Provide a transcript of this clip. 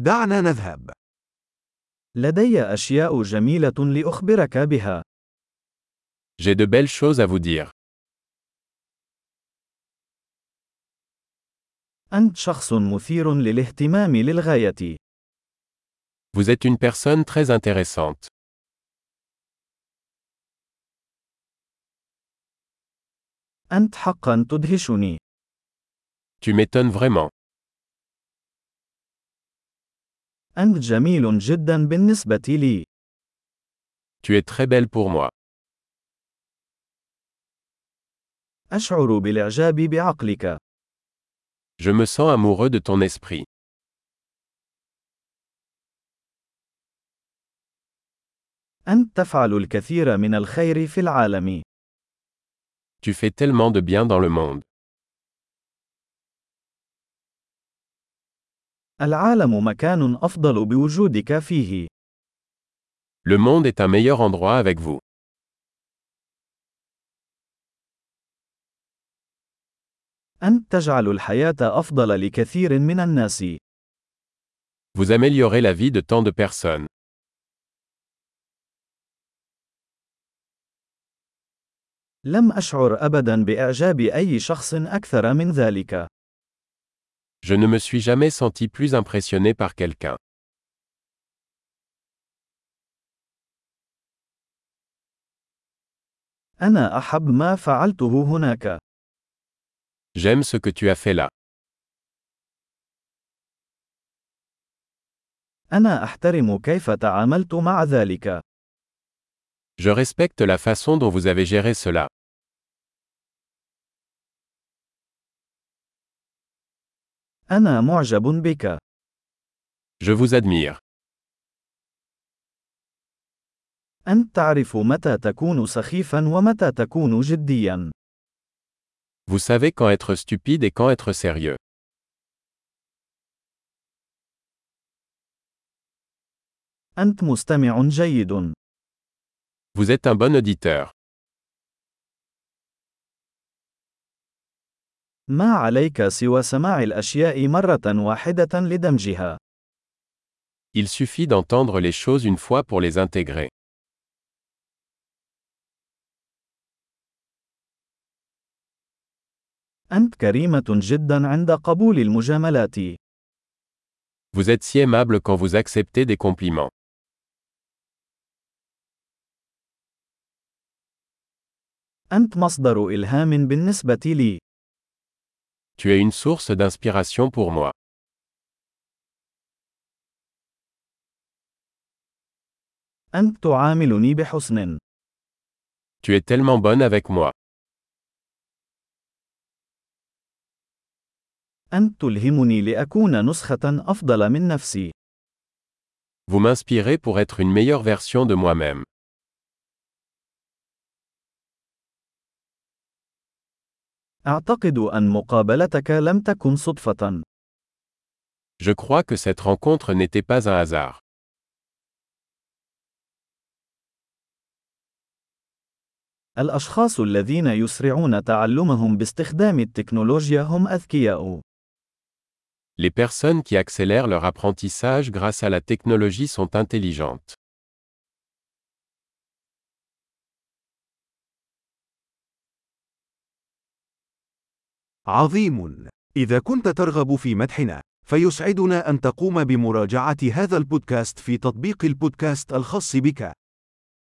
دعنا نذهب. لدي أشياء جميلة لأخبرك بها. J'ai de belles choses à vous dire. أنت شخص مثير للاهتمام للغاية. Vous êtes une personne très intéressante. أنت حقا تدهشني. Tu m'étonnes vraiment. أنت جميل جدا بالنسبة لي. Tu es très belle pour moi. أشعر بالإعجاب بعقلك. Je me sens amoureux de ton esprit. أنت تفعل الكثير من الخير في العالم. Tu fais tellement de bien dans le monde. العالم مكان أفضل بوجودك فيه. Le monde est un meilleur endroit avec vous. أنت تجعل الحياة أفضل لكثير من الناس. Vous améliorez la vie de tant de personnes. لم أشعر أبدا بإعجاب أي شخص أكثر من ذلك. Je ne me suis jamais senti plus impressionné par quelqu'un. أنا أحب ما فعلته هناك. J'aime ce que tu as fait là. أنا أحترم كيف تعاملت مع ذلك. Je respecte la façon dont vous avez géré cela. أنا معجب بك. Je vous admire. أنت تعرف متى تكون سخيفا ومتى تكون جديا. Vous savez quand être stupide et quand être sérieux. أنت مستمع جيد. Vous êtes un bon auditeur. ما عليك سوى سماع الأشياء مرة واحدة لدمجها. Il suffit d'entendre les choses une fois pour les intégrer. أنت كريمة جدا عند قبول المجاملات. Vous êtes si aimable quand vous acceptez des compliments. أنت مصدر إلهام بالنسبة لي. Tu es une source d'inspiration pour moi. أنت تعاملني بحسن. Tu es tellement bonne avec moi. أنت تلهمني لأكون نسخة أفضل من نفسي. Vous m'inspirez pour être une meilleure version de moi-même. أعتقد أن مقابلتك لم تكن صدفة. Je crois que cette rencontre n'était pas un hasard. الأشخاص الذين يسرعون تعلمهم باستخدام التكنولوجيا هم أذكياء. Les personnes qui accélèrent leur apprentissage grâce à la technologie sont intelligentes. عظيم! إذا كنت ترغب في مدحنا، فيسعدنا أن تقوم بمراجعة هذا البودكاست في تطبيق البودكاست الخاص بك.